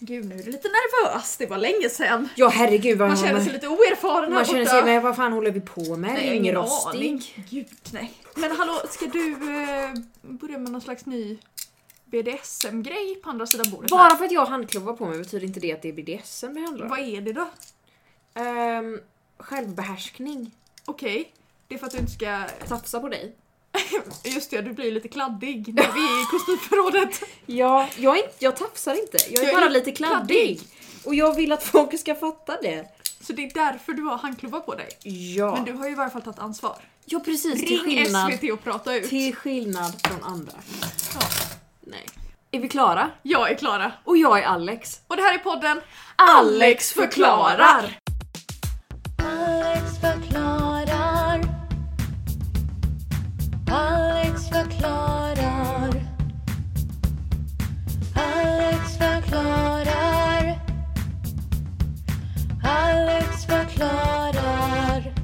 Gud, nu är du lite nervös. Det var länge sedan. Ja herregud vad Man känner sig lite oerfaren här man känner borta. sig, men vad fan håller vi på med? Nej, Nej, jag har ingen ingen rostig. aning. Gud, nej. Men hallå, ska du eh, börja med någon slags ny BDSM-grej på andra sidan bordet? Bara för att jag har handklovar på mig betyder inte det att det är BDSM det handlar Här? Vad om. är det då? Ehm, självbehärskning. Okej, det är för att du inte ska... Satsa på dig. Just det, du blir lite kladdig när vi är i kostymförrådet. Ja, jag, är inte, jag tafsar inte. Jag är Jag är bara lite kladdig. Och jag vill att folk ska fatta det. Så det är därför du har handklovar på dig. Ja. Men du har ju i varje fall tagit ansvar. ja precis, till Ring skillnad, SVT och prata ut. till skillnad från andra. Ja. Nej. Är vi klara? Jag är Klara. Och jag är Alex. Och det här är podden Alex förklarar! Alex förklarar. Alex förklarar. Alex förklarar. Alex förklarar.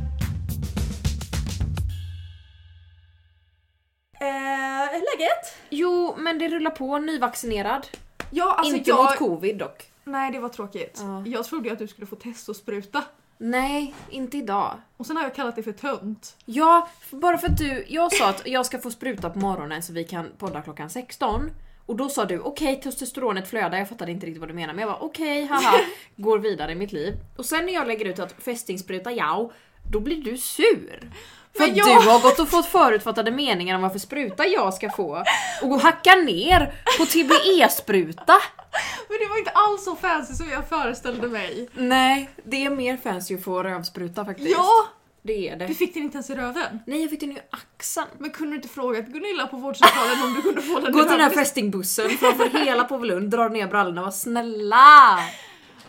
Eh, läget? Jo, men det rullar på. Nyvaccinerad. Ja, alltså inte jag... mot covid dock. Nej, det var tråkigt. Ja. Jag trodde ju att du skulle få testospruta. Nej, inte idag. Och sen har jag kallat det för tönt. Ja, f- bara för att du... Jag sa att jag ska få spruta på morgonen så vi kan podda klockan 16. Och då sa du okej testosteronet flödar, jag fattade inte riktigt vad du menar men jag var okej haha, går vidare i mitt liv. Och sen när jag lägger ut att fästingspruta jao, då blir du sur. För Men att jag- du har gått och fått förutfattade meningar om varför spruta jag ska få. Och hacka ner på TBE-spruta. Men det var inte alls så fancy som jag föreställde mig. Nej, det är mer fancy att få rövspruta faktiskt. Ja! Det är Du det. fick den inte ens i röven. Nej jag fick den ju i axeln. Men kunde du inte fråga Gunilla på vårdcentralen om du kunde få den i Gå till den här röven? fästingbussen framför hela Påvelund, dra ner brallorna, var snälla!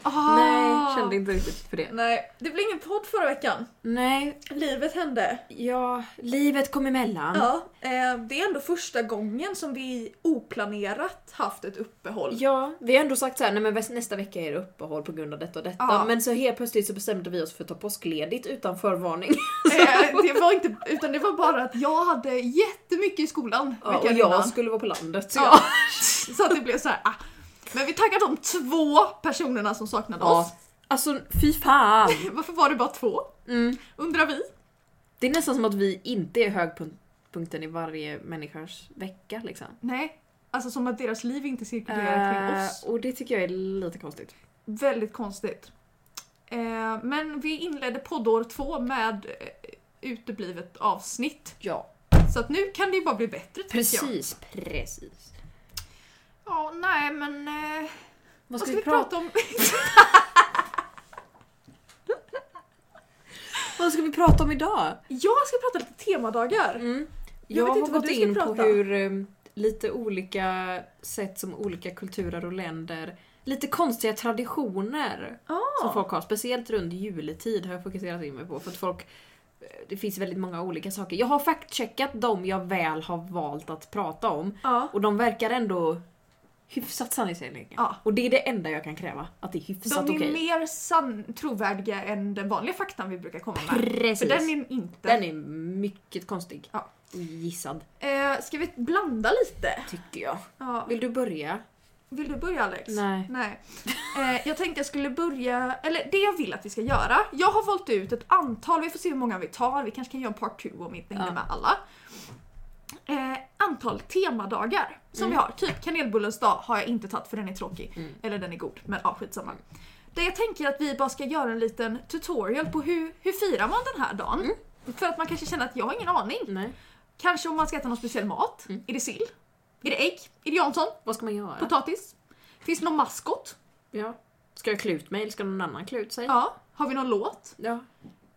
Ah. Nej, kände inte riktigt för det. Nej, det blev ingen podd förra veckan. Nej, Livet hände. ja, livet kom emellan. Ja, Ja, eh, det är ändå första gången som vi oplanerat haft ett uppehåll. vi har ändå sagt så här, nej men väs- nästa vecka är det uppehåll på grund av detta och detta. Ja. Men så helt plötsligt så bestämde vi oss för att ta påskledigt utan förvarning. Eh, det var inte, utan det var bara att jag hade jättemycket i skolan Ja, och veckan jag innan. skulle vara på landet. så Ja. jag- Så att det blev så här. Ah. Men vi taggar de två personerna som saknade oss. Ja. Alltså fy fan! Varför var det bara två? Mm. Undrar vi. Det är nästan som att vi inte är högpunkten i varje människas vecka liksom. Nej, alltså som att deras liv inte cirkulerar kring Eh, oss. och det tycker jag är lite konstigt. Väldigt konstigt. Eh, men vi inledde poddår två med eh, uteblivet avsnitt. Ja, Så att nu kan det ju bara bli bättre tycker jag. precis, precis. Ja, nej men... Eh, Vad vad ska vi prata om? vad ska vi prata om idag? jag ska prata lite temadagar. Mm. Jag Jag, vet har inte vad gått du ska in på prata. hur eh, lite olika sätt som olika kulturer och länder, lite konstiga traditioner som folk har. Speciellt runt juletid har jag fokuserat in mig på för att folk eh, det finns väldigt många olika saker. Jag har fact-checkat de jag väl har valt att prata om Ja. och de verkar ändå hyfsat sanningsenliga. Ja. Och det är det enda jag kan kräva, att det är De är hyfsat okej. mer sann- trovärdiga än den vanliga faktan vi brukar komma med. Precis. För den är inte. Den är mycket konstig. Ja. Och gissad, Eh, ska vi blanda lite? tycker jag. Ja. Vill du börja? Vill du börja Alex? Nej. Eh, jag tänkte jag skulle börja, eller det jag vill att vi ska göra. Jag har valt ut ett antal, vi får se hur många vi tar. Vi kanske kan göra en part 2 om vi inte hinner Ja. med alla. Eh, antal temadagar Mm. som vi har. Typ kanelbullens dag har jag inte tagit för den är tråkig. Eller den är god, men ja skitsamma. Där jag tänker att vi bara ska göra en liten tutorial på hur, hur firar man den här dagen. Mm. För att man kanske känner att jag har ingen aning. Nej. Kanske om man ska äta någon speciell mat. Mm. Är det sill? Är det ägg? Är det Jansson? Vad ska man göra? Potatis? Finns det någon maskot? ja. Ska jag klä ut mig eller ska någon annan klä ut sig? Ja. Har vi någon låt? Ja.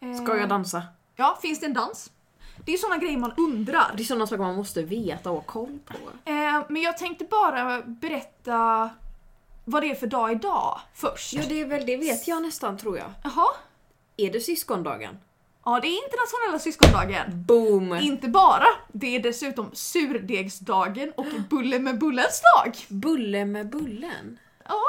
Eh, Ska jag dansa? Ja, finns det en dans? Det är ju sådana grejer man Det undrar. är sådana saker man måste veta och ha koll på. Eh, men jag tänkte bara berätta vad det är för dag idag först. Ja det, är väl, det vet jag nästan tror jag. Jaha? Är det syskondagen? Ja, det är internationella syskondagen. Boom! Inte bara, det är dessutom surdegsdagen och bulle med bullens dag. Bulle med bullen? Ja,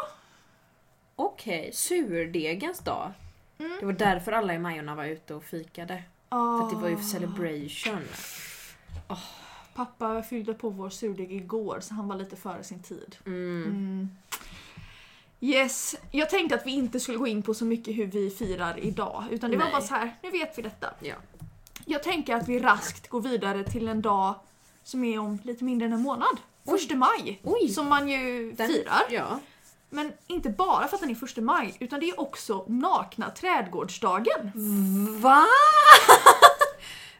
Okej, surdegens dag. Mm. Det var därför alla i Majorna var ute och fikade. För att det Ah. var ju för celebration. Pappa fyllde på vår surdeg igår så han var lite före sin tid. Mm. Mm. Yes, jag tänkte att vi inte skulle gå in på så mycket hur vi firar idag utan det var Nej. bara så här, nu vet vi detta. Ja. Jag tänker att vi raskt går vidare till en dag som är om lite mindre än en månad. Första maj, Oj. som man ju Den- firar. Ja. Men inte bara för att den är första maj utan det är också nakna trädgårdsdagen. Va?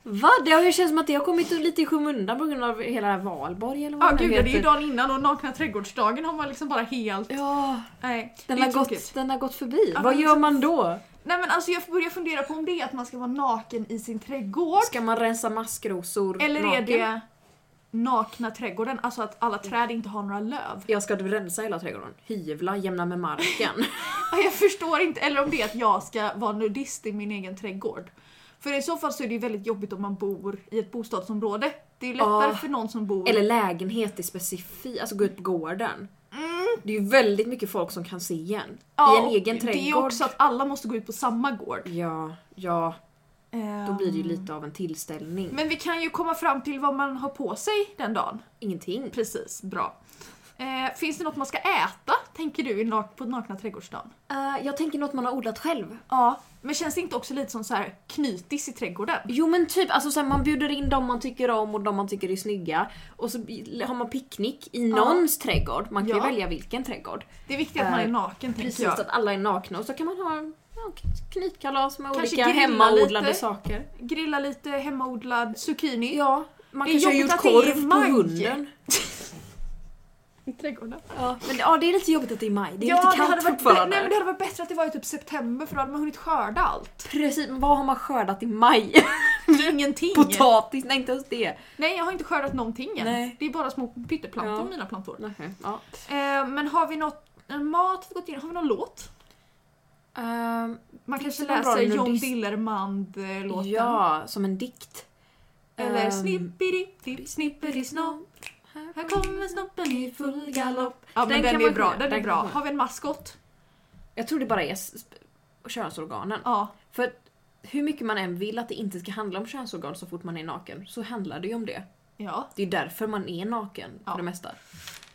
Va? Det har ju känts som att det har kommit lite i skymundan på grund av hela det här valborg eller vad Ja den gud, ja, det är ju heter. dagen innan och nakna trädgårdsdagen har man liksom bara helt... Ja, Nej, den det är har, tråkigt. gått, den har gått förbi. Ja, vad men gör liksom- man då? Nej men alltså jag börjar fundera på om det är att man ska vara naken i sin trädgård Ska man rensa maskrosor eller är naken? Mm. det nakna trädgården, alltså att alla träd inte har några löv. Jag ska du rensa hela trädgården? Hyvla, jämna med marken. Ja, Jag förstår inte, eller om det är att jag ska vara nudist i min egen trädgård. För i så fall så är det ju väldigt jobbigt om man bor i ett bostadsområde. Det är ju lättare Ja. för någon som bor... eller lägenhet i specifikt, alltså gå ut på gården. Det är ju väldigt mycket folk som kan se igen. I en och egen Det är trädgård. också att alla måste gå ut på samma gård. Ja, ja, då Ehm, blir det ju lite av en tillställning. Men vi kan ju komma fram till vad man har på sig den dagen. Ingenting. Precis, bra. Eh, finns det något man ska äta, tänker du, i nak- på nakna trädgårdsdagen? Eh, jag tänker något man har odlat själv. Ja, men känns det inte också lite som så här knytis i trädgården? Jo men typ, alltså så här, man bjuder in de man tycker om och de man tycker är snygga. Och så har man picknick i någons trädgård. Man kan Ja. ju välja vilken trädgård. Det är viktigt att man är Eh, naken, tänker Precis, jag. att alla är nakna och så kan man ha ja, knytkalas med Kanske olika grilla hemmaodlade lite. saker. Grilla lite hemmaodlad zucchini. Ja, man Det är kanske har jobbigt gjort att det är i korv på maj. hunden. I trädgården. Ja, men ja, det är lite jobbigt att det är i maj. Det är Ja, lite det hade, kallt varit bä- fortfarande. nej, men det hade varit bättre att det var i typ september för då hade man hunnit skörda allt. Precis, men vad har man skördat i maj? Ingenting. Potatis? Nej, inte ens det. Nej, jag har inte skördat någonting än. Nej. Det är bara små pytteplantor, Ja. mina plantor. Nej, ja. Eh, men har vi något en mat vi gått in? Har vi någon låt? Ehm, Man kanske det någon bra läser John nudist- Dillermand-låten. ja, som en dikt. Eller Ehm, snippidi-dipp, snippidi-snopp. Här kommer snoppen i full galopp. Ja men Den den, kan är man bra, sjunga, den är den bra. kan man Har vi en maskott? Jag tror det bara är s- sp- könsorganen. Ja. För hur mycket man än vill att det inte ska handla om könsorgan så fort man är naken, så handlar det ju om det. ja. Det är därför man är naken Ja. för det mesta.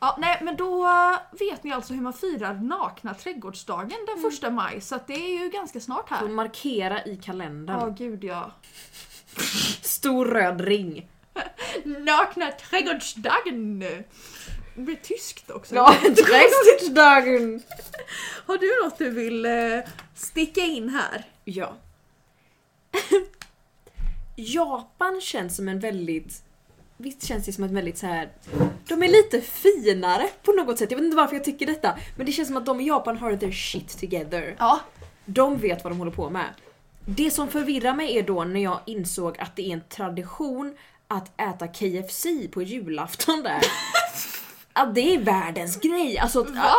Ja, nej men då eh, vet ni alltså hur man firar nakna trädgårdsdagen den första maj så att det är ju ganska snart Så här. markera i Ja kalendern. gud ja. Stor röd ring. Nakna trädgårdsdagen! Det blir tyskt också. trädgårdsdagen! Har du något du vill eh, sticka in här? Ja. Japan känns som en väldigt... Visst känns det som ett väldigt så här. De är lite finare på något sätt. Jag vet inte varför jag tycker detta. Men det känns som att de i Japan har their shit together. Ja. De vet vad de håller på med. Det som förvirrar mig är då när jag insåg att det är en tradition att äta KFC på julafton där. att det är världens grej. Alltså, att- Va?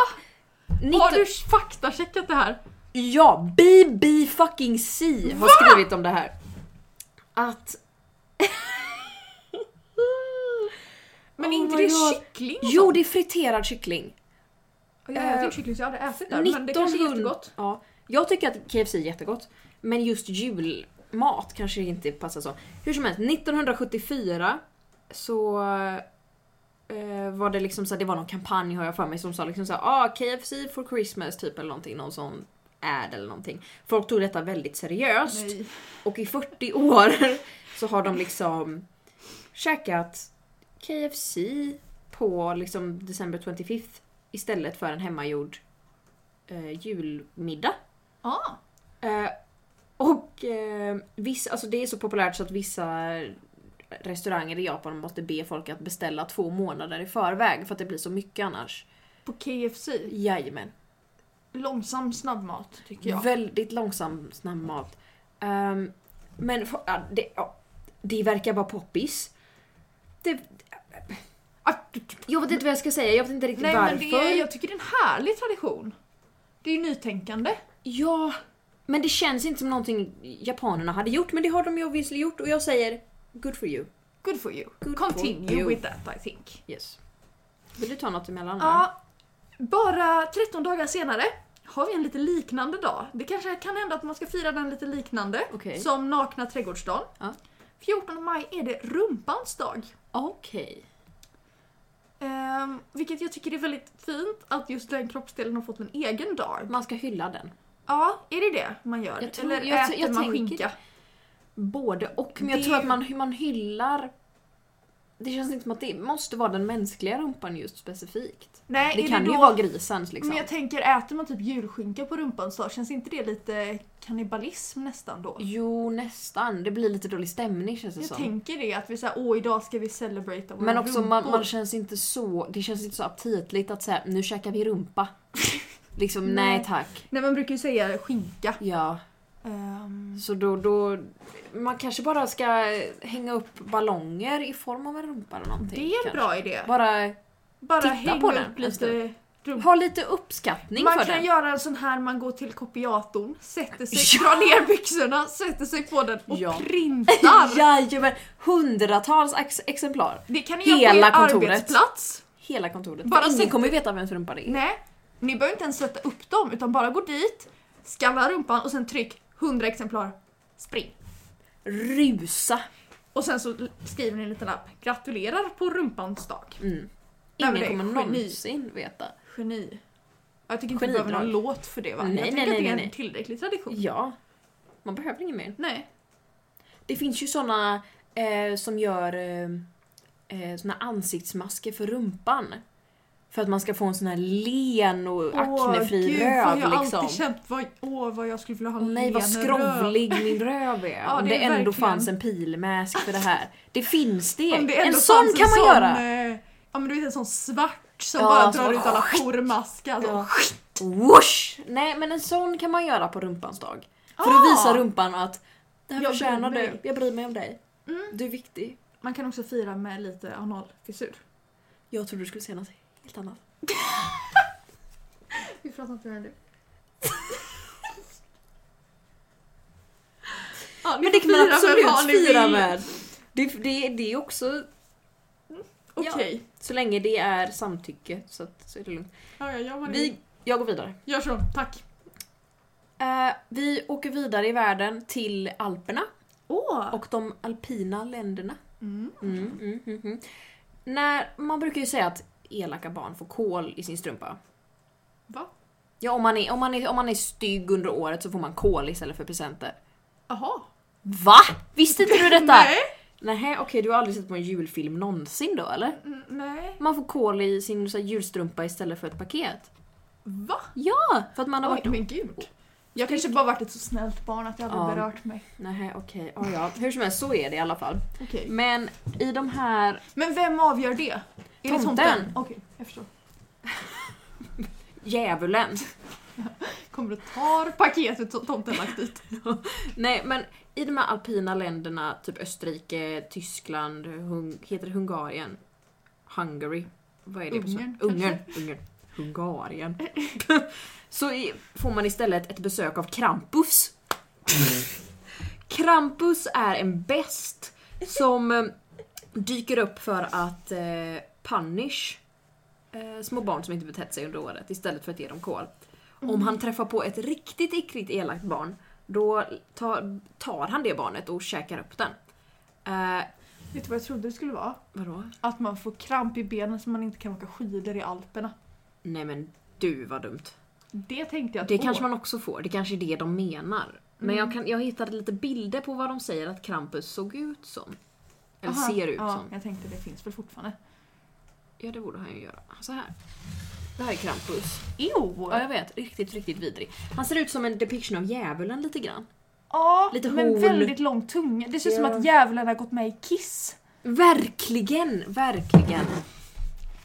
Har Nitton- du faktacheckat det här? Ja, BB fucking C har skrivit om det här. Att... Men Oh är inte my det God. kyckling? och Jo, sånt? det är friterad kyckling. Eh, Jag äter inte Eh, kyckling så jag har aldrig ätit där men det kanske är 1900 jättegott. Ja, jag tycker att KFC är jättegott. Men just julmat kanske inte passar så. Hur som helst, 1974 så eh, var det liksom så här, det var någon kampanj har jag för mig som sa liksom så här, ah, KFC for Christmas typ eller någonting. Någon sån ad eller någonting. Folk tog detta väldigt seriöst. Nej. Och i 40 år så har de liksom käkat KFC på liksom december 25th istället för en hemmagjord eh, julmiddag. Ja. Eh, och eh, vissa, alltså det är så populärt så att vissa restauranger i Japan måste be folk att beställa två månader i förväg för att det blir så mycket annars. På KFC. Jajamän. Långsam snabbmat tycker jag. Väldigt långsam snabbmat. Ehm, men f- ja, det, ja, det verkar vara poppis. Det, Ah, jag vet inte vad jag ska säga, jag vet inte riktigt Nej varför. men det är, jag tycker det är en härlig tradition. Det är ju nytänkande. Ja, men det känns inte som någonting japanerna hade gjort, men det har de ju obviously gjort och jag säger good for you. Good for you. Mm. Good Continue for you. with that I think. Yes. Vill du ta något emellan? här? Ja, bara 13 dagar senare har vi en lite liknande dag. Det kanske kan hända att man ska fira den lite liknande. Okej. Som nakna trädgårdsdagen. Ja. 14 maj är det rumpans dag. Okej. Ehm, vilket jag tycker är väldigt fint att just den kroppsdelen har fått en egen dag. Man ska hylla den. Ja, är det det man gör? Jag tror- Eller jag- äter jag man tänker- skinka? Både och. Men jag Det tror är att ju- man, hur man hyllar... Det känns inte som att det måste vara den mänskliga rumpan just specifikt. Nej, Det är kan det då... ju vara grisens liksom. Men jag tänker, äter man typ djurskinka på rumpan så känns inte det lite kannibalism nästan då? Jo, nästan. Det blir lite dålig stämning känns det Jag som. tänker det, att vi säger åh idag ska vi celebrate våra Men också man, rumpor." man känns inte så, det känns inte så aptitligt att säga nu käkar vi rumpa. liksom Nej. nej tack. Nej man brukar ju säga skinka. Ja, Ehm, så då, då... Man kanske bara ska hänga upp ballonger i form av en rumpa eller någonting. det är en kanske. bra idé. Bara Bara titta hänga på upp den en lite stund. rumpor. ha lite uppskattning Man för kan den. göra en sån här, man går till kopiatorn, sätter sig, Ja. drar ner byxorna, sätter sig på den och Ja. printar. Jajamän! Hundratals ex- exemplar. Det kan ni göra på Hela er kontoret. arbetsplats. Hela kontoret. Bara Bara Ingen sätt- kommer ju veta vems rumpa det är. Nej, ni behöver inte ens sätta upp dem utan bara gå dit, skalla rumpan och sen tryck 100 exemplar, spring. Rusa! Och sen så skriver ni en liten lapp. Gratulerar på rumpans dag. Mm. Nej, men Ingen det är kommer geni. någonsin veta. Geni. Jag tycker inte vi Genidrag. behöver någon låt för det va? Nej, jag nej, tycker nej, att det är nej, en nej. tillräcklig tradition. Ja. Man behöver ingen mer. Nej. Det finns ju såna eh, som gör eh, eh, såna ansiktsmasker för rumpan. För att man ska få en sån här len och aknefri gud, vad jag röv har liksom. alltid känt, vad, åh vad jag skulle vilja ha Åh en nej vad len skrovlig min röv är. Ja, Om det det, är ändå verkligen- fanns en pilmask för det här. Det finns det! röv. Om det en ändå sån fanns kan man sån, göra! eh, Ja men du vet en sån svart som Ja, bara som drar bara- ut alla pormaskar. alltså. så. Ja. eh, Whoosh! Nej men en sån kan man göra på rumpans dag. För Ah! att visa rumpan att det här Jag förtjänar bryr mig. du, jag bryr mig om dig. Mm. Du är viktig. Man kan också fira med lite analfissur. Jag trodde du skulle säga något helt annat. Vi pratar inte mer om det. ja, ni Men det får kan man fira med vad absolut ni fira vill. med. Det, det, det är också, Okej. så länge det är samtycke så, att, så är det lugnt. Ja, ja, gör vad ni Vi, vill. jag går vidare. Gör så, tack. Eh, vi åker vidare i världen till Alperna Åh! och de alpina länderna. Mm. Mm, mm, mm, mm. När, man brukar ju säga att elaka barn får kol i sin strumpa. Va? Ja, om man är, om man är, om man är stygg under året så får man kol istället för presenter. Jaha. VA? Visste inte du detta? Nej. Nej, okej du har aldrig sett på en julfilm någonsin då eller? Mm, Nej. Man får kol i sin så här, julstrumpa istället för ett paket. Va? Ja! För att man har Oj, varit... men gud. Jag kanske bara varit ett så snällt barn att jag aldrig Ja. berört mig. Nej, okej. ja ja. Hur som helst, så är det i alla fall. Okej. Men i de här... Men vem avgör det? Är det tomten? Tomten. Okej, jag förstår. Djävulen. Kommer och tar paketet som tomten lagt dit. Nej, men i de här alpina länderna, typ Österrike, Tyskland, Hung- heter det Hungarien? Hungary? Vad är det på Ungern, svenska? Ungern. Ungern. Hungarien. Så i, får man istället ett besök av Krampus. Krampus är en best som eh, dyker upp för att eh, punish eh, små barn som inte betett sig under året istället för att ge dem kol. Om Mm. han träffar på ett riktigt, riktigt elakt barn då tar, tar han det barnet och käkar upp den. Eh, Vet du vad jag trodde det skulle vara? vadå? Att man får kramp i benen så man inte kan åka skidor i Alperna. Nej men du vad dumt. Det tänkte jag att Det åh. kanske man också får, det kanske är det de menar. Men Mm. jag, kan, jag hittade lite bilder på vad de säger att Krampus såg ut som. Eller Aha, ser ut ja, som. Jag tänkte det finns väl fortfarande. Ja det borde han ju göra. Så här. Det här är Krampus. Jo! Ja jag vet, riktigt riktigt vidrig. Han ser ut som en depiction av djävulen lite grann. Ja, Lite men horn. väldigt lång tunga. Det ser ut som Ja. att djävulen har gått med i Kiss. Verkligen, verkligen.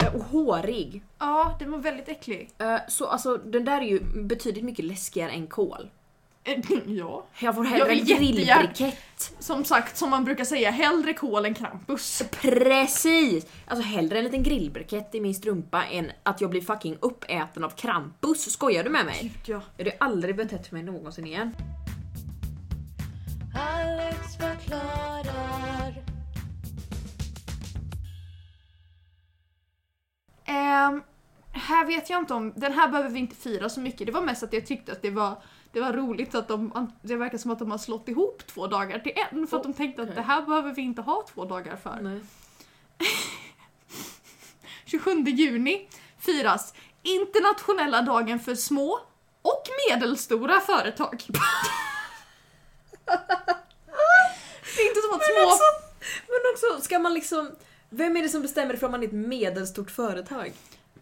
Eh, Och hårig. Ja, den var väldigt äcklig. Eh, Så alltså den där är ju betydligt mycket läskigare än kol. Eh, ja. Jag får Jag hellre vill en jättegärna- grillbrikett. Som sagt, som man brukar säga, hellre kol än Krampus. Precis! Alltså hellre en liten grillbrikett i min strumpa än att jag blir fucking uppäten av Krampus. Skojar du med mig? Ja. Jag hade aldrig betett mig någonsin igen. Alex förklarar. Ehm, här vet jag inte om, den här behöver vi inte fira så mycket. Det var mest att jag tyckte att det var, det var roligt att de, det verkar som att de har slått ihop två dagar till en. För att de tänkte att Okej. det här behöver vi inte ha två dagar för. Nej. 27 juni firas internationella dagen för små och medelstora företag. det är inte som att små... Men alltså- också, men också, ska man liksom... Vem är det som bestämmer ifrån man är ett medelstort företag?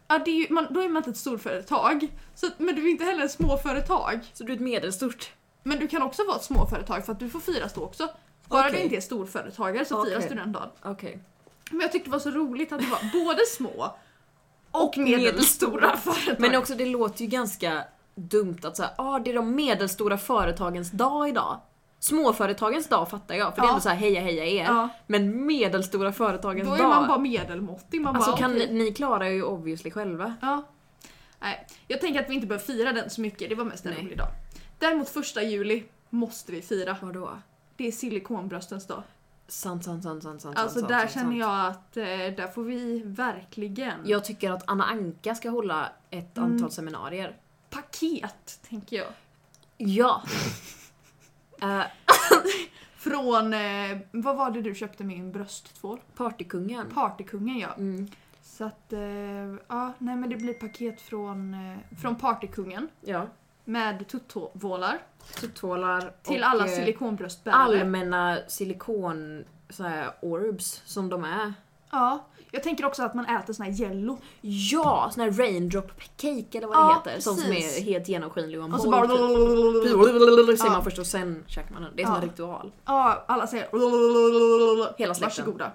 Ja, det är ju, man, då är man inte ett storföretag. Så, att- men du är inte heller ett småföretag. Så du är ett medelstort? Men du kan också vara ett småföretag för att du får firas då också. Bara Okej. du inte är storföretagare så Okej. firas du den dagen. Okej. Men jag tyckte det var så roligt att det var både små och, Och medelstora. medelstora företag. Men också det låter ju ganska dumt att säga ah, det är de medelstora företagens dag idag. Småföretagens dag fattar jag, för det är Ja. ändå såhär heja heja er. Ja, Men medelstora företagens då är dag. man bara medelmåttig. Man alltså bara, kan okej. ni, ni klarar ju obviously själva. Ja. Nej, jag tänker att vi inte behöver fira den så mycket, det var mest en Nej. rolig dag. Däremot första juli måste vi fira. Vadå? Det är silikonbröstens dag. Sant, sant, sant, sant, sant. Alltså sant, där sant, känner sant. jag att eh, där får vi verkligen Jag tycker att Anna Anka ska hålla ett Mm. antal seminarier. paket, tänker jag. Ja! Eh, Från, eh, vad var det du köpte min brösttvål? partykungen. Partykungen ja. Mm. Så att, eh, ja, nej men det blir paket från, eh, från Partykungen Ja. med tuttvålar Tuttvålar till och, alla eh, silikonbröstbärare. allmänna silikon så här, orbs som de är. Ja, jag tänker också att man äter sån här jello. Ja, sån här raindrop cake eller vad det Ja, heter. Sån som precis. är helt genomskinlig och en Och så bara... boll typ. Ser Ja. man först och sen käkar man den. Det är som Ja. en ritual. Ja, alla säger... Hela släkten. Varsågoda.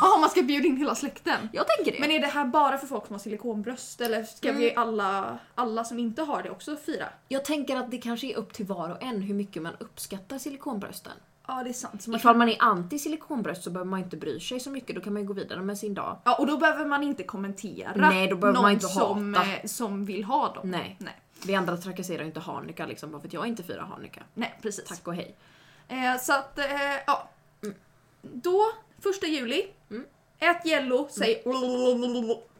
Ja, man ska bjuda in hela släkten. Jag tänker det. Men är det här bara för folk som har silikonbröst eller ska Mm. vi alla, alla som inte har det också fira? jag tänker att det kanske är upp till var och en hur mycket man uppskattar silikonbrösten. Ja, det är sant. Så man Ifall man är anti silikonbröst så behöver man inte bry sig så mycket. Då kan man ju gå vidare med sin dag. Ja, och då behöver man inte kommentera Nej, då behöver någon man inte som, hata. eh, som vill ha dem. Nej. Nej. Vi andra trakasserar ju inte Hanukka liksom bara för att jag inte firar Hanukka. Nej, precis. Tack och hej. Eh, så att, eh, ja. Då, första juli. Mm. Ät Jello, säg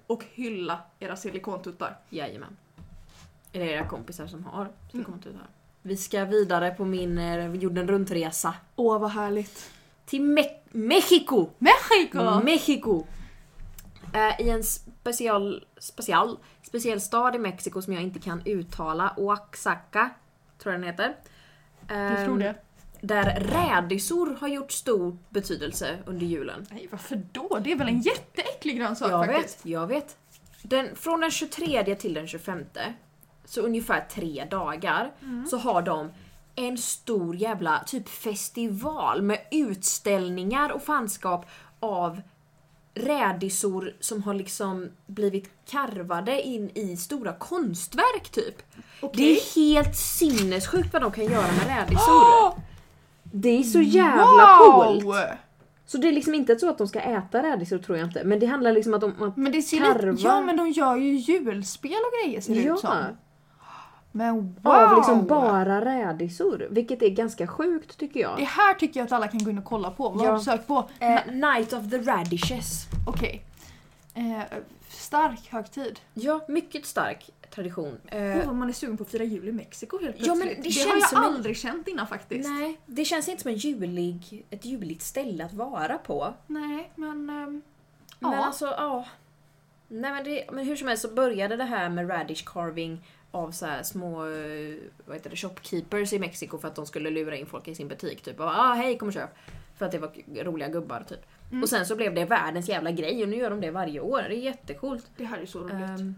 och hylla era silikontuttar. Jajamän. Mm. Eller era kompisar som har silikontutar. Vi ska vidare på min eh, jorden runt-resa. Åh vad härligt. Till Me- Mexiko! Mexiko! Mm. Mexiko! Eh, I en special, special, speciell stad i Mexiko som jag inte kan uttala, Oaxaca, tror jag den heter. Jag tror Ehm, det. Där rädisor har gjort stor betydelse under julen. Nej varför då? Det är väl en jätteäcklig grönsak jag faktiskt. vet, jag vet. Den, från den 23 till den 25, så ungefär tre dagar, Mm. så har de en stor jävla typ festival med utställningar och fanskap av rädisor som har liksom blivit karvade in i stora konstverk typ. Det är helt sinnessjukt vad de kan göra med rädisor. Ah! Det är så jävla coolt! Så det är liksom inte så att de ska äta rädisor tror jag inte, men det handlar liksom att de... Att Men det ser Karvar. lite, ja men de gör ju julspel och grejer ser det ja, ut som. Men wow! av liksom bara rädisor. Vilket är ganska sjukt tycker jag. Det här tycker jag att alla kan gå in och kolla på. Vad Ja. har du sökt på? Eh, Night of the Radishes. Okej. Eh, stark högtid. Ja, mycket stark tradition. Eh, Åh, vad Oh, man är sugen på att fira jul i Mexiko helt Ja, men plötsligt. det det har känns jag som en- aldrig känt innan faktiskt. nej, det känns inte som en julig, ett juligt ställe att vara på. Nej, men... ehm, Men ja. alltså, ja. Nej men, det, men hur som helst så började det här med radish carving av så här små eh, vad heter det, shopkeepers i Mexiko för att de skulle lura in folk i sin butik. Typ och bara, ah, hej kom och köp. För att det var k- roliga gubbar typ. Mm. Och sen så blev det världens jävla grej och nu gör de det varje år. Det är jättecoolt. Det här är så roligt. Um, ehm,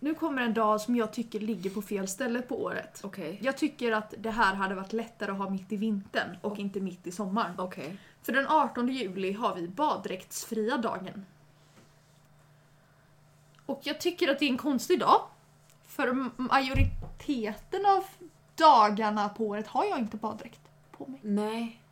Nu kommer en dag som jag tycker ligger på fel ställe på året. Okej. Jag tycker att det här hade varit lättare att ha mitt i vintern och inte mitt i sommaren. Okej. För den 18 juli har vi baddräktsfria dagen. Och jag tycker att det är en konstig dag. För majoriteten av dagarna på året har jag inte baddräkt på mig. Nej.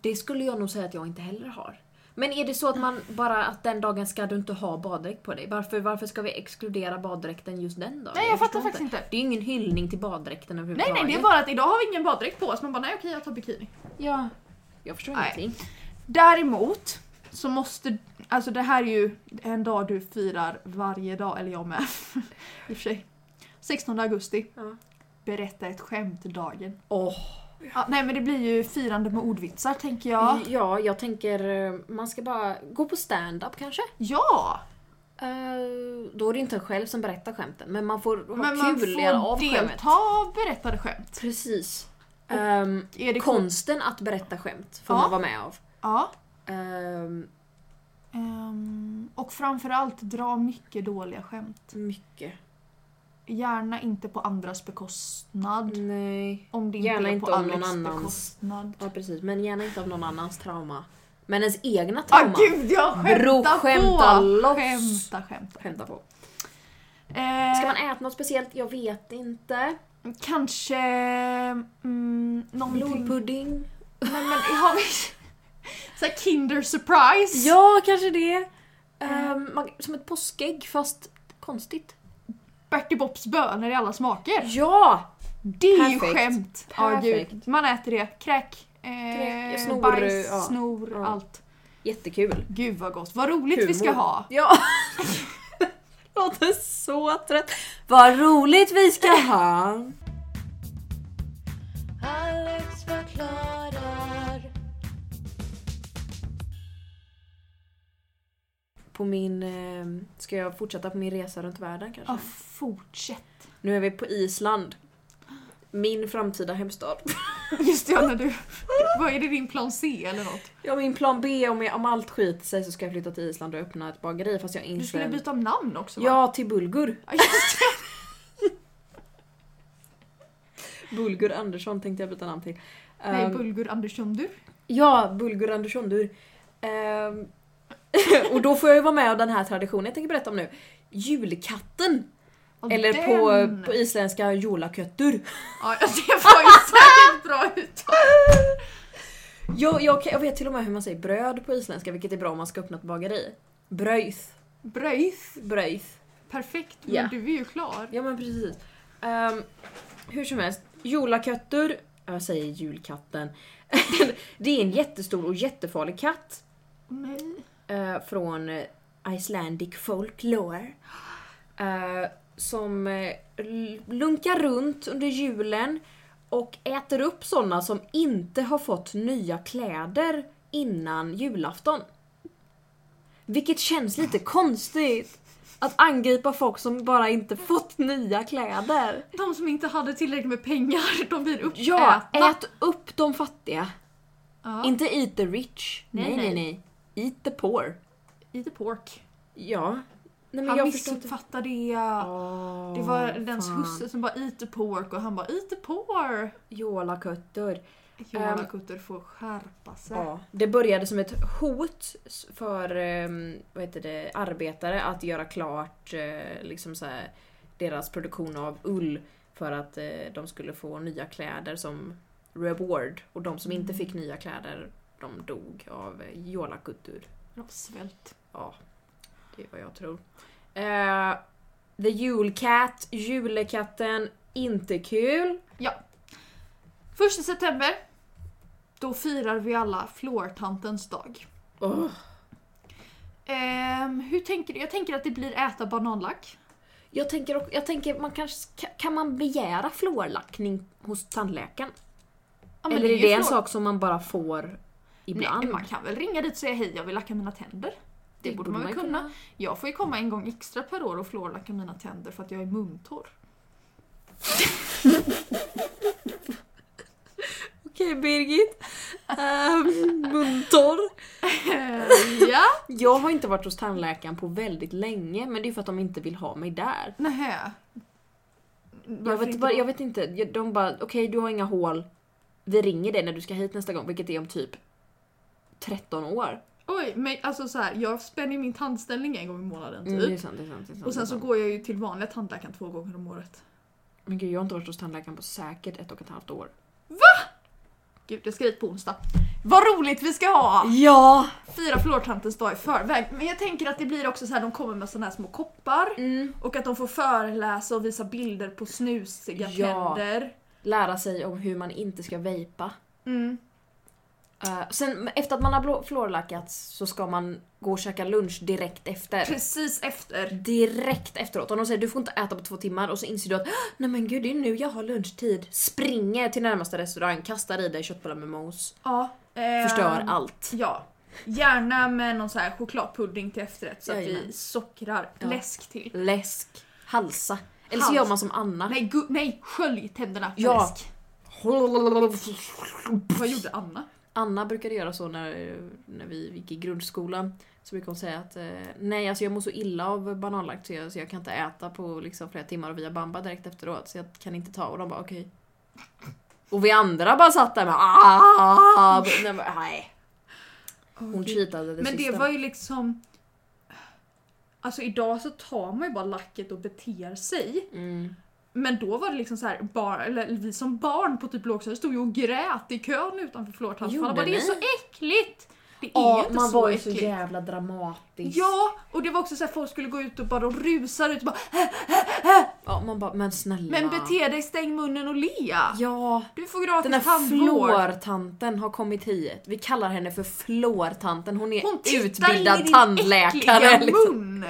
Det skulle jag nog säga att jag inte heller har. Men är det så att man bara att den dagen ska du inte ha baddräkt på dig? Varför, varför ska vi exkludera baddräkten just den dagen? Nej, jag fattar förstår faktiskt inte. Det är ju ingen hyllning till baddräkten Nej överhuvudtaget. nej, det är bara att idag har vi ingen baddräkt på oss. Man bara nej okej jag tar bikini. Ja. Jag förstår Nej. ingenting. Däremot så måste, alltså det här är ju en dag du firar varje dag, eller jag med. I och för sig. 16 augusti. Ja. Berätta ett skämt-dagen. Åh. Ja, nej men det blir ju firande med ordvitsar tänker jag. Ja, jag tänker eh, man ska bara gå på stand-up kanske? Ja! Eh, då är det inte en själv som berättar skämten, men man får ha Men man kul i- av får skämt. delta av berättade skämt. Precis. Ehm, Är det kon- konsten att berätta skämt får Ja. man vara med av. ja. Ehm, Ehm, och framförallt dra mycket dåliga skämt. mycket. Gärna inte på andras bekostnad. Nej. Om det inte Mm. Gärna är inte på om någon Alex annans. bekostnad. Ja precis, men gärna inte av någon annans trauma. Men ens egna Ah, trauma. gud, jag Bro, skämtar skämta på! loss. Skämta, skämta. Skämta på. Eh, Ska man äta något speciellt? Jag vet inte. Kanske... Mm, någonting... Blodpudding? Nej, men har vi... Så här Kinder surprise. Ja, kanske det. Ehm, man, som ett påskägg fast konstigt. Bertie Bopps bönor i alla smaker. Ja! Det är ju Perfekt. skämt! Ja, Perfekt. gud. Man äter det. Kräk, eh, Kräk, snor, bajs, ja. snor, Ja. allt. Jättekul. Gud vad gott. Vad roligt vi ska Humor. ha. Ja! Låter så trött. Vad roligt vi ska ha! Alex förklarar. På min... ehm, ska jag fortsätta på min resa runt världen kanske? Ja, fortsätt. Nu är vi på Island. Min framtida hemstad. Just det, ja, när du... Vad är det, din plan C eller något? Ja, min plan B om, jag, om allt skiter sig så ska jag flytta till Island och öppna ett bageri fast jag Du inser... skulle byta namn också va? Ja, till Bulgur. Ja, just det. Bulgur Andersson tänkte jag byta namn till. Nej, Ehm, Bulgur Andersson du. Ja, Bulgur Andersson du. Ehm, och då får jag ju vara med om den här traditionen jag tänker berätta om nu. Julkatten! Ja, Eller den. på, på isländska jolaköttur. Ja, det var ju säkert bra uttal. Jag, jag, kan- jag vet till och med hur man säger bröd på isländska vilket är bra om man ska öppna ett bageri. Bröjth. Bröjs. Bröjth. Perfekt, men Ja. du är ju klar. Ja men precis. Ehm, hur som helst, jolakötter, jag säger julkatten. det är en jättestor och jättefarlig katt Nej. eh, från eh, Icelandic folklore. eh, som eh, l- lunkar runt under julen och äter upp sådana som inte har fått nya kläder innan julafton. Vilket känns lite konstigt. Att angripa folk som bara inte fått nya kläder. De som inte hade tillräckligt med pengar, de blir uppätna. Ja, ät upp de fattiga. Ja. Inte eat the rich. Nej, Nej, nej, nej. nej. Eat the poor. Eat the pork. Ja. Nej, men Han jag förstår inte. missuppfattade det. Det var dens husse som bara eat the pork och han bara eat the poor. Jolakötter. Johanna Kutter får skärpa sig. Ehm. Ja. Det började som ett hot s- för ehm, vad heter det, arbetare att göra klart eh, liksom så här, deras produktion av ull för att eh, de skulle få nya kläder som reward. Och de som inte fick nya kläder, de dog av eh, jolakuttur. De svält. Ja, det är vad jag tror. Eh, the Julcat, julekatten, inte kul. Första september, då firar vi alla flortantens dag. Åh, Ehm, hur tänker du? Jag tänker att det blir äta bananlack. Jag tänker, och- jag tänker man kanske, ka- kan man begära fluorlackning hos tandläkaren? Ja, men Eller är ju det en flor- sak som man bara får ibland? Nej, man kan väl ringa dit och säga hej jag vill lacka mina tänder. Det, borde man väl kunna. Jag får ju komma en gång extra per år och fluorlacka mina tänder för att jag är muntorr. Okej Birgit. Ehm, Muntorr. ja. Jag har inte varit hos tandläkaren på väldigt länge men det är för att de inte vill ha mig där. Nähä. Jag Varför vet, inte bara, då? jag vet inte, Jag- de bara okej du har inga hål. Vi ringer dig när du ska hit nästa gång vilket är om typ 13 år. Oj, men alltså så här, jag spänner ju min tandställning en gång i månaden typ. Mm, det är sant, det är sant. Det är sant Och det är sen så sant. går jag ju till vanliga tandläkaren två gånger om året. Men gud jag har inte varit hos tandläkaren på säkert ett och ett halvt år. Gud, jag ska dit på onsdag. Vad roligt vi ska ha! Ja! Fira flortantens dag i förväg. Men jag tänker att det blir också så här, de kommer med såna här små koppar. Mm. Och att de får föreläsa och visa bilder på snusiga Ja. tänder. Lära sig om hur man inte ska vejpa. Mm. Eh, sen efter att man har blå- fluorlackats så ska man gå och käka lunch direkt efter. Precis efter. Direkt efteråt. Om de säger du får inte äta på två timmar och så inser du att "Åh, nej men gud det är nu jag har lunchtid. Springer till närmaste restaurang, kastar i dig köttbullar med mos. Ja. ehm, Förstör allt. Ja. Gärna med någon så här chokladpudding till efterrätt så att vi Jajamän. sockrar Ja. läsk till. Läsk. Halsa. Eller så Hals. gör man som Anna. Nej, gu- nej skölj tänderna för Ja. läsk. Vad gjorde Anna? Anna brukade göra så när, när vi gick i grundskolan. Så brukade hon säga att eh, nej alltså jag mår så illa av bananlax så jag, så jag kan inte äta på liksom, flera timmar och vi har bamba direkt efteråt så jag kan inte ta och de bara okej. Och vi andra bara satt där med "Ah!" Nej, men, nej. Hon cheatade det Men det sista. var ju liksom... Alltså idag så tar man ju bara lacket och beter sig. mm. Men då var det liksom så här, bar, eller vi som barn på typ lågstadiet stod ju och grät i kön utanför Flortallsfallet. Gjorde Bara, Det är ni? så äckligt! Det är ju Ja, inte man så var ju så äckligt. jävla dramatisk. Ja, och det var också så här, folk skulle gå ut och bara de rusar ut och bara Ja, man bara men snälla. “Men bete dig, stäng munnen och le! Ja. Du får gratis Den här tandvård!” flårtanten har kommit hit. Vi kallar henne för flårtanten. Hon är Hon tittar in i utbildad din tandläkare. äckliga Liksom. mun!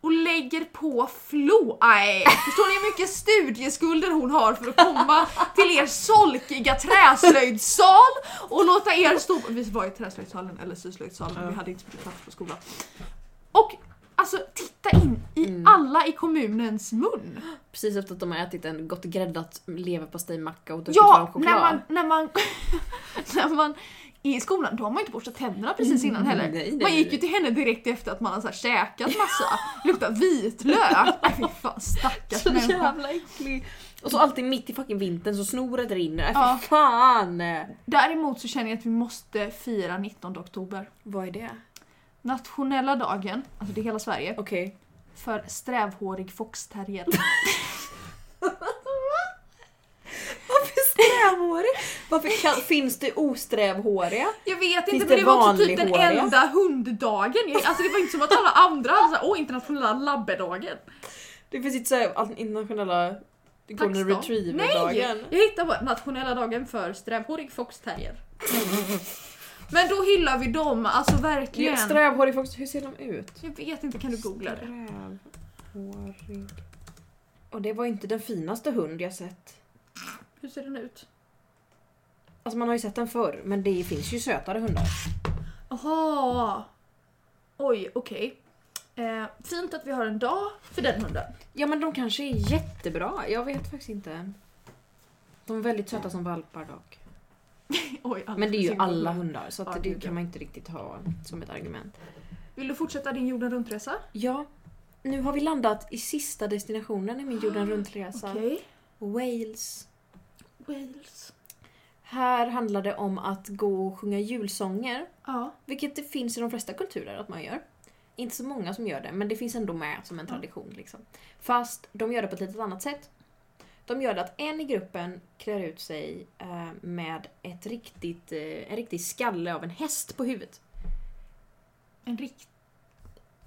Och lägger på flå... Nej, förstår ni hur mycket studieskulder hon har för att komma till er solkiga träslöjdssal och låta er stå på... Vi var i träslöjdssalen, eller syslöjdssalen, vi hade inte så mycket plats på skolan. Och alltså titta in i Mm. alla i kommunens mun! Precis efter att de har ätit en gott gräddat leverpastejmacka och druckit varm Ja, choklad. när man, när man, när man i skolan, då har man inte borstat tänderna precis innan heller. Mm, nej, nej, man gick ju nej. till henne direkt efter att man har så här käkat massa, luktar vitlök. Nej fy fan stackars Så människa. jävla äcklig. Och så alltid mitt i fucking vintern så snoret rinner. Ja. Ja. fan! Däremot så känner jag att vi måste fira 19 oktober. Vad är det? Nationella dagen, alltså det är hela Sverige, Okej. för strävhårig foxterrier. Varför strävhårig? Varför kan, finns det osträvhåriga? Jag vet Finns inte men det det var också typ den vanlighåriga? enda hunddagen. Jag- Alltså det var inte som att alla andra hade såhär åh internationella labbedagen. Det finns inte såhär internationella golden Tacksdag. retriever-dagen. Nej! Jag hittar bara nationella dagen för strävhårig foxterrier. Men då hyllar vi dem, alltså verkligen. Strävhårig fox, hur ser de ut? Jag vet inte, kan du googla det? Strävhårig. Och det var inte den finaste hund jag sett. Hur ser den ut? Alltså man har ju sett den förr, men det finns ju sötare hundar. Jaha! Oj, okej. Eh, fint att vi har en dag för den hunden. Ja men de kanske är jättebra, jag vet faktiskt inte. De är väldigt söta som valpar dock. Oj, alla Men det är ju försöker alla googla. hundar så Ja, att gud, det ja. kan man inte riktigt ha som ett argument. Vill du fortsätta din jorden runt-resa? Ja, nu har vi landat i sista destinationen i min jorden runt-resa. Wales. Wales. Här handlar det om att gå och sjunga julsånger. Ja. Vilket det finns i de flesta kulturer att man gör. Inte så många som gör det, men det finns ändå med som en tradition. Liksom. Fast de gör det på ett lite annat sätt. De gör det att en i gruppen klär ut sig eh, med ett riktigt, eh, en riktig skalle av en häst på huvudet. En rikt...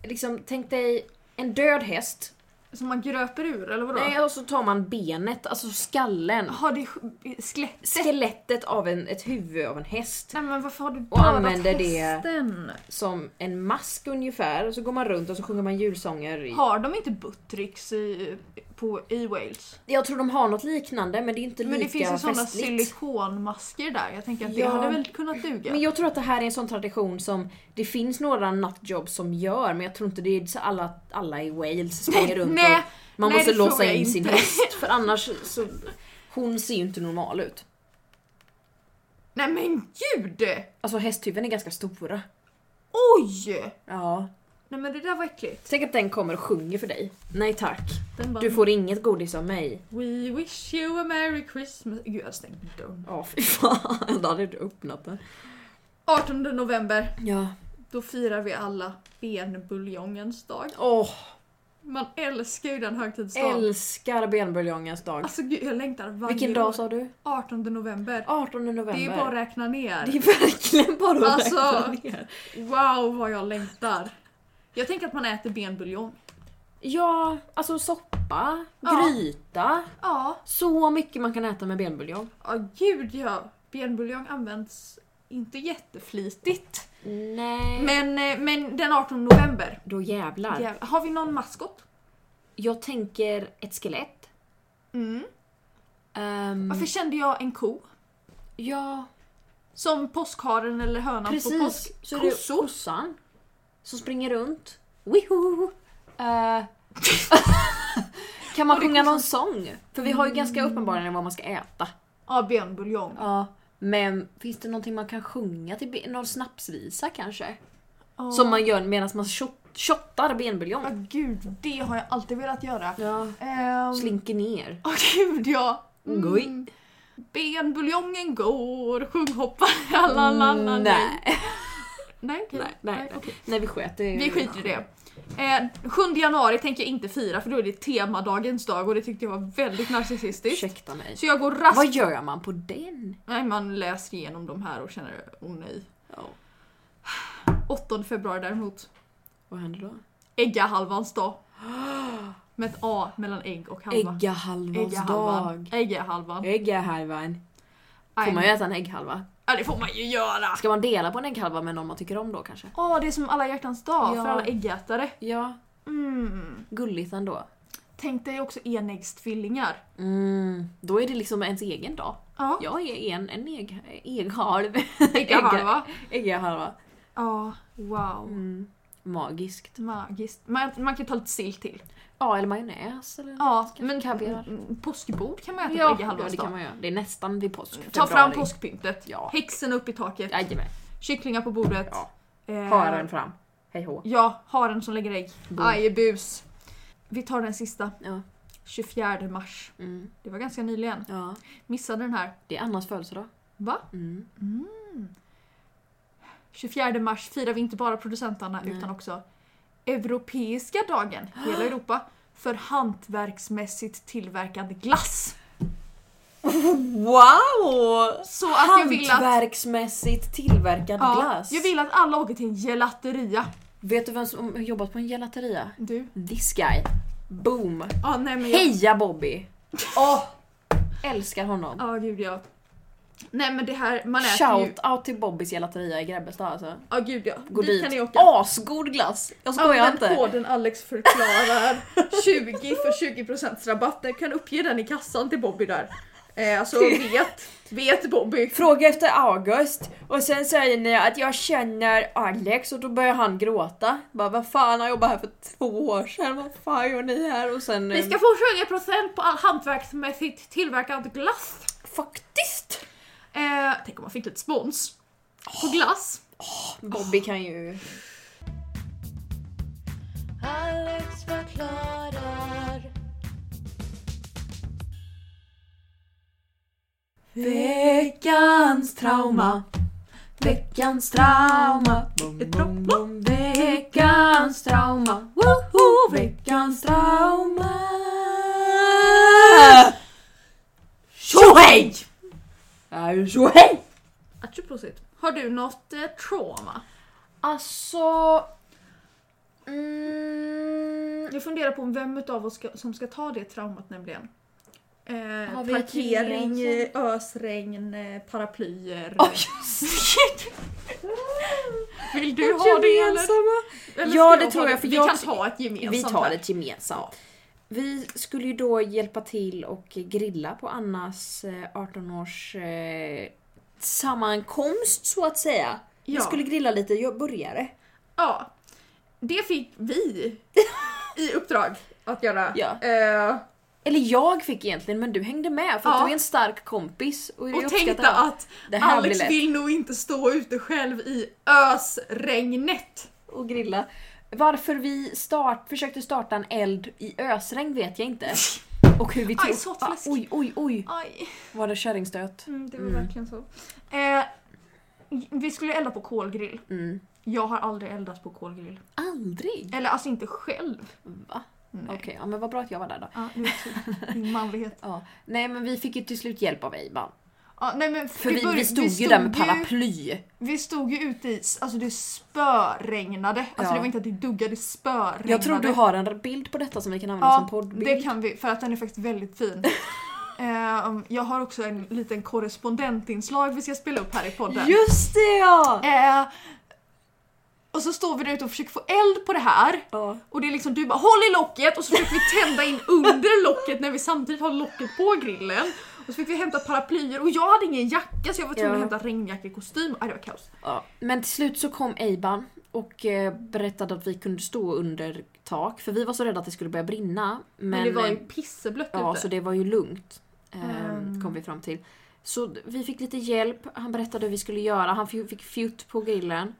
Liksom, tänk dig en död häst. Som man gröper ur eller vadå? Ah. Nej, och så tar man benet, alltså skallen. Har det sk- skelett? Skelettet av en, ett huvud av en häst. Nej men varför har du Och dödat använder det- hästen? Som en mask ungefär. Och så går man runt och så sjunger man julsånger. I... Har de inte buttricks i, på, i Wales? Jag tror de har något liknande men det är inte Men lika det finns ju sådana festligt. silikonmasker där. Jag tänker att det Ja. hade väl kunnat duga. Men jag tror att det här är en sån tradition som det finns några nattjobb som gör men jag tror inte det är så alla, alla i Wales springer runt nej, och man nej, måste det tror låsa jag in sin inte. häst för annars så hon ser ju inte normal ut. Nej men gud! Alltså hästhuven är ganska stora. Oj! Ja. Nej men det där var äckligt. Tänk att den kommer och sjunger för dig. Nej tack. Den bara, Du får inget godis av mig. We wish you a merry Christmas. Gud jag hade stängt dörren. Ja fy fan, då hade du öppnat den. 18 november, Ja. då firar vi alla benbuljongens dag. Åh, Man älskar ju den högtidsdagen. älskar benbuljongens dag. Alltså gud, jag längtar varje Vilken år. dag sa du? 18 november. 18 november. Det är bara att räkna ner. Det är verkligen bara att Alltså- räkna ner. Wow vad jag längtar! Jag tänker att man äter benbuljong. Ja, alltså soppa, Ja. gryta. Ja, Så mycket man kan äta med benbuljong. ja gud ja. Benbuljong används inte jätteflitigt. Nej. Men Men, eh, men den 18 november. då jävlar. Jävlar. Har vi någon maskot? Jag tänker ett skelett. Mm. Ehm, Varför kände jag en ko? Ja. Som påskharen eller hönan på påsk. Precis. Så det är Kossor. kossan som springer runt. Wiho! Eh, kan man Och det är sjunga någon kossan. sång? För vi Mm. har ju ganska uppenbarligen vad man ska äta. Ja, bönbuljong. Ja. Men finns det någonting man kan sjunga till ben- Någon snapsvisa kanske? Som man gör medan man shot- shottar Ja, benbuljong. gud, det har jag alltid velat göra. Ja. Ehm, Slinker ner. Åh gud ja! Goj. Benbuljongen går, sjunghoppar alla lalla nej. Nej, okej. Nej, nej, nej. okej. nej, vi sket i- Vi skiter i det. Eh, 7 januari tänker jag inte fira för då är det temadagens dag och det tyckte jag var väldigt narcissistiskt. Ursäkta mig. Så jag går raskt... Vad gör man på den? Nej, man läser igenom de här och känner åh nej. 8 februari däremot. Vad händer då? Äggahalvans dag. Med ett A mellan ägg och halva. Äggahalvans Äggahalvan. dag. Äggahalvan. Äggahalvan. Får man ju äta en ägghalva? Ja det får man ju göra! Ska man dela på en ägghalva med någon man tycker om då kanske? Åh, det är som alla hjärtans dag Ja. för alla äggätare. Ja, Mm. gulligt ändå. Tänk dig också enäggstvillingar. Mm, då är det liksom ens egen dag. Ja, Jag är en, en ägg, ägghalv. äggahalva. Ägghalva. Ja, wow. Mm. Magiskt. Magiskt. Man, man kan ta lite sill till. Ja, eller majonnäs. Eller... Ja, men kaviar. mm, påskbord kan man äta på ja, äggahalvans det kan dag. man göra. Det är nästan vid påsk. Ta Februari. fram påskpyntet. Ja. Häxen upp i taket. Jajamän. Kycklingar på bordet. Ja. Eh, Haren fram. Hej hå. Ja, haren som lägger ägg. Bo. Aj, bus. Vi tar den sista. Ja. 24 mars. Mm. Det var ganska nyligen. ja. Missade den här. Det är Annas födelsedag. Va? Mm. 24 mars firar vi inte bara producenterna Nej. utan också Europeiska dagen, hela Europa, för hantverksmässigt tillverkad glass. Wow! Så att jag vill att, Hantverksmässigt tillverkad ja, glass. jag vill att alla åker till en gelateria. Vet du vem som har jobbat på en gelateria? Du? This guy. Boom. Ja, nej men jag... Heja Bobby! Åh! Älskar honom. Ja, gud ja. Nej men det här, man äter ju... Shout out till Bobbys gelateria i Grebbestad alltså. Ja, gud ja. Gå Dit dit. kan ni åka. Asgod glass! Jag skojar Använd inte. koden Alex förklarar 20 för 20% rabatt. Ni kan uppge den i kassan till Bobby där. Eh, så vet, vet Bobby. Fråga efter August och sen säger ni att jag känner Alex och då börjar han gråta. Bara vad fan, han jobbade här för två år sedan, vad fan gör ni här? Och sen... eh, Vi ska få 20% på all hantverksmässigt tillverkad glass. faktiskt! Eh, tänk om man fick lite spons. På glass. Bobby kan ju... Alex förklarar. Veckans trauma Veckans trauma Ett bra- Veckans trauma Woho! Veckans trauma Tjohej! Ja, tjohej! Atjo, prosit. Har du något eh, trauma? Alltså... Mm, Jag funderar på vem utav oss ska, som ska ta det traumat nämligen. Eh, Har vi ett parkering, gemensamt? eh, ösregn, eh, paraplyer. oh, just det. Vill du ha det eller? eller Ja, ska det tror ha jag, för Vi jag- kan ta ett gemensamt Vi tar här. det gemensamt. Vi skulle ju då hjälpa till och grilla på Annas eh, 18-års eh, sammankomst så att säga. Vi Ja. skulle grilla lite ju- burgare. Ja. Det fick vi i uppdrag att göra. Ja. Eh, Eller jag fick egentligen men du hängde med för att Ja. du är en stark kompis. Och, jag och tänkte uppskattar det. att det här blir Alex lätt. vill nog inte stå ute själv i ösregnet. och grilla. Varför vi start, försökte starta en eld i ösregn vet jag inte. Och hur vi Aj, tog... sått Ah, fläsk. oj, oj, oj. Aj, Var det kärringstöt? mm, det var Mm. verkligen så. Eh, vi skulle elda på kolgrill. Mm. Jag har aldrig eldat på kolgrill. Aldrig? Eller alltså inte själv. Va? Nej. Okej, ja, men vad bra att jag var där då. Ja, det är tur. Min manlighet. Ja. Nej men vi fick ju till slut hjälp av Eiban. Ja, nej, men För vi, börj- vi stod ju där med ju- paraply. Vi stod ju ute i, alltså det spöregnade. Alltså Ja. det var inte att det duggade, det spöregnade. Jag tror du har en bild på detta som vi kan använda som Ja, poddbild. det kan vi för att den är faktiskt väldigt fin. Ehm, jag har också en liten korrespondentinslag vi ska spela upp här i podden. Just det ja! Eh, och så står vi där ute och försöker få eld på det här ja. och det är liksom du bara håll i locket och så försöker vi tända in under locket när vi samtidigt har locket på grillen Och så fick vi hämta paraplyer och jag hade ingen jacka så jag var tvungen Ja. att hämta regnjacka, kostym. Aj, det var kaos. Ja. Men till slut så kom Eiban och eh, berättade att vi kunde stå under tak för vi var så rädda att det skulle börja brinna. Men, Men, det var ju eh, pisseblött Ja, ute. så det var ju lugnt. ehm, Ehm. Kom vi fram till. Så d- vi fick lite hjälp, han berättade hur vi skulle göra, han fi- fick fjutt på grillen.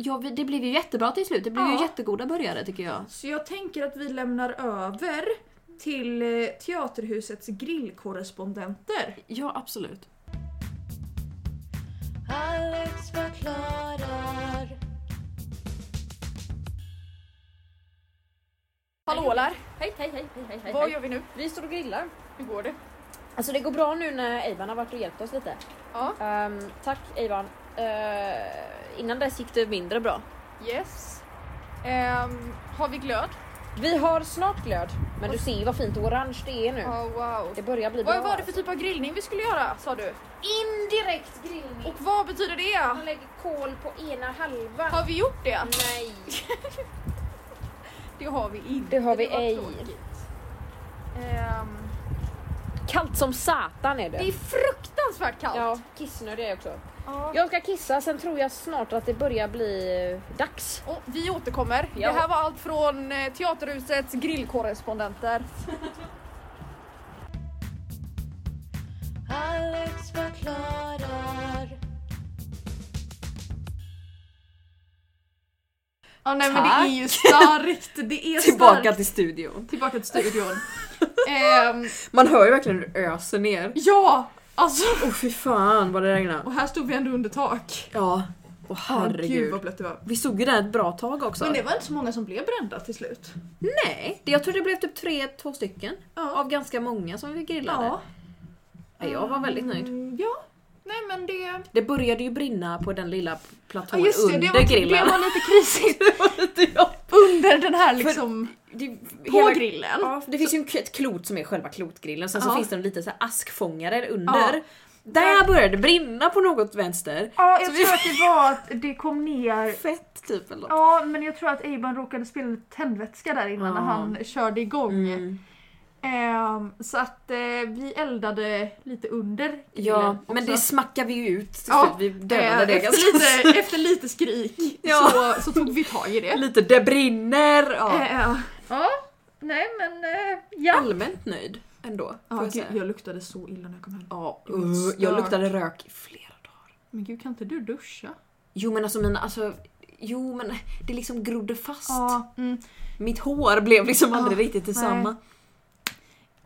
Ja, vi, det blev ju jättebra till slut, det blev ju Ja. jättegoda burgare tycker jag. Så jag tänker att vi lämnar över till eh, Teaterhusets grillkorrespondenter. Ja, absolut. Alex förklarar. Hallå där! Hej, hej, hej, hej, hej. Vad gör vi nu? Vi står och grillar. Hur går det? Alltså det går bra nu när Eivan har varit och hjälpt oss lite. Ja. Ehm, tack Eivan. Eh, innan dess gick det mindre bra. Yes. Ehm, har vi glöd? Vi har snart glöd, men du ser ju vad fint och orange det är nu. Oh, wow. Det börjar bli bra. Vad var det för typ av grillning vi skulle göra sa du? Indirekt grillning. Och vad betyder det? Man lägger kol på ena halvan. Mm. Har vi gjort det? Nej. Det har vi inte. Det har vi var ej. tråkigt. Ehm, Kallt som satan är det. det är fruktansvärt kallt. Ja, kissnödig är jag också. Ja. Jag ska kissa, sen tror jag snart att det börjar bli dags. Och vi återkommer. Ja. Det här var allt från eh, Teaterhusets grillkorrespondenter. Alex förklarar. Ja, nej, men Tack. det är ju starkt! Det är starkt. till studion. Tillbaka till studion. Ehm, Man hör ju verkligen hur det öser ner. ja, alltså. Åh oh, fy fan vad det regnar. Och här stod vi ändå under tak. Ja, och Gud vad blött det var. Vi såg ju där ett bra tag också. Men det var inte så många som blev brända till slut. Nej, det- jag tror det blev typ tre, två stycken. Ja. Av ganska många som vi grillade. Ja, Jag var väldigt nöjd. Mm, Ja. Nej men det... Det började ju brinna på den lilla platån Ja, just det, under det var, grillen. det var lite krisigt. Det var lite jag. Under den här liksom... Det, På hela, grillen. ja, för det finns ju en, k- ett klot som är själva klotgrillen, sen så Ja. finns det en liten så här askfångare under. Ja. Där började det brinna på något vänster. Ja, jag Så vi- tror att det var att det kom ner Fett typ eller något. Ja, men jag tror att Eiban råkade spela lite tändvätska där innan när Ja. han körde igång. Mm. Ehm, så att eh, vi eldade lite under Ja, grillen men också. det smackade vi ju ut till Ja, slut. Vi Eh, dödade det efter, ganska lite, efter lite skrik Ja. så, så tog vi tag i det. Lite det brinner! Ja. Eh, ja, nej men eh, ja. Allmänt nöjd ändå. Ja, får jag gud, säga. jag luktade så illa när jag kom hem. Ja, Det var ett uh, jag stört. luktade rök i flera dagar. Men gud kan inte du duscha? Jo men alltså mina, alltså, jo men det liksom grodde fast. Ja, mm. Mitt hår blev liksom aldrig Ja, riktigt detsamma.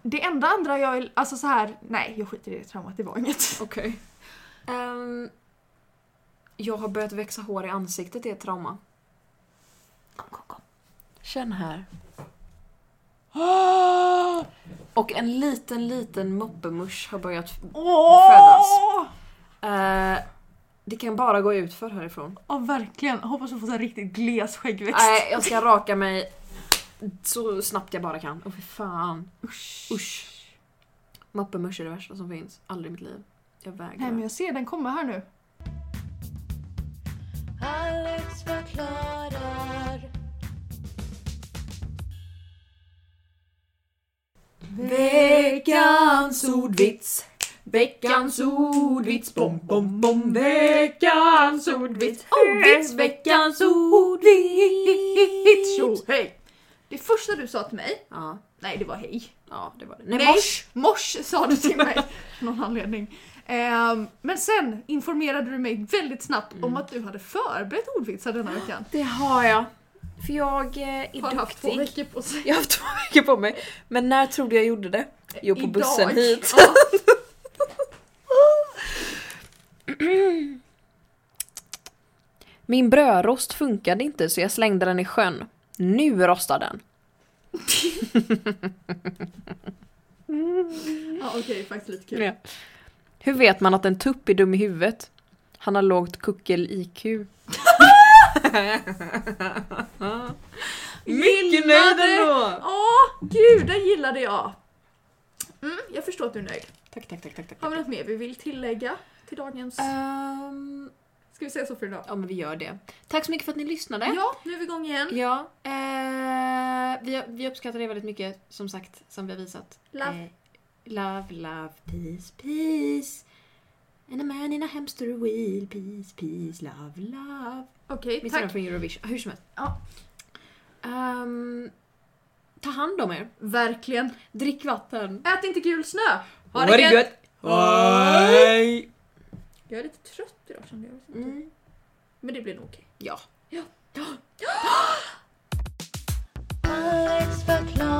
Det enda andra jag vill, alltså så här, nej jag skiter i det traumat, det var inget. Okej. Ehm, jag har börjat växa hår i ansiktet, det är ett trauma. Kom, kom, kom. Känn här. Och en liten, liten moppemusch har börjat... Födas. Eh, det kan bara gå ut för härifrån. Ja verkligen, hoppas du får en riktigt gles skäggväxt. Nej, jag ska raka mig så snabbt jag bara kan. Åh fy fan. Usch. Usch. Moppemusch är det värsta som finns. Aldrig i mitt liv. Jag vägrar. Nej men jag ser den komma här nu. Alex förklarar. Veckans ordvits. Veckans ordvits. Bom, bom, bom. Veckans ordvits. Ordvits. Veckans ordvits. Tjo hej! Det första du sa till mig, Ja, nej det var hej. ja, det var det. Nej, Nej. mors. Mors sa du till mig av någon anledning. Ehm, men sen informerade du mig väldigt snabbt Mm. om att du hade förberett ordvitsar denna veckan. Det har jag. För jag eh, är Har haft två duktig. veckor på sig. Jag har haft två veckor på mig. Men när tror du jag gjorde det? Jo, på Idag. bussen hit. Ja. Min brödrost funkade inte så jag slängde den i sjön. Nu rostar den. Ja, Okej, faktiskt lite kul. Ja. Hur vet man att en tupp är dum i huvudet? Han har lågt kuckel-IQ. Mycket nöjd ändå! Ja, gud, den gillade jag! Mm, jag förstår att du är nöjd. Tack, tack, tack, tack. tack. Har vi något mer vi vill tillägga till dagens... Ehm, Ska vi säga så för idag? ja men vi gör det. Tack så mycket för att ni lyssnade. Ja, nu är vi igång igen. Ja, eh, vi, vi uppskattar det väldigt mycket som sagt som vi har visat. Love. Eh, Love, love, peace, peace. And a man in a hamster wheel. Peace, peace, love, love. Okej, Minns du den tack. från Eurovision? Hur som helst. Ja. Ehm, ta hand om er. Verkligen. Drick vatten. Ät inte gul snö! Ha det gött! Hej! Jag är lite trött idag kände jag. jag. vet inte. Mm. Men det blir nog okej. Ja. Alex förklarar.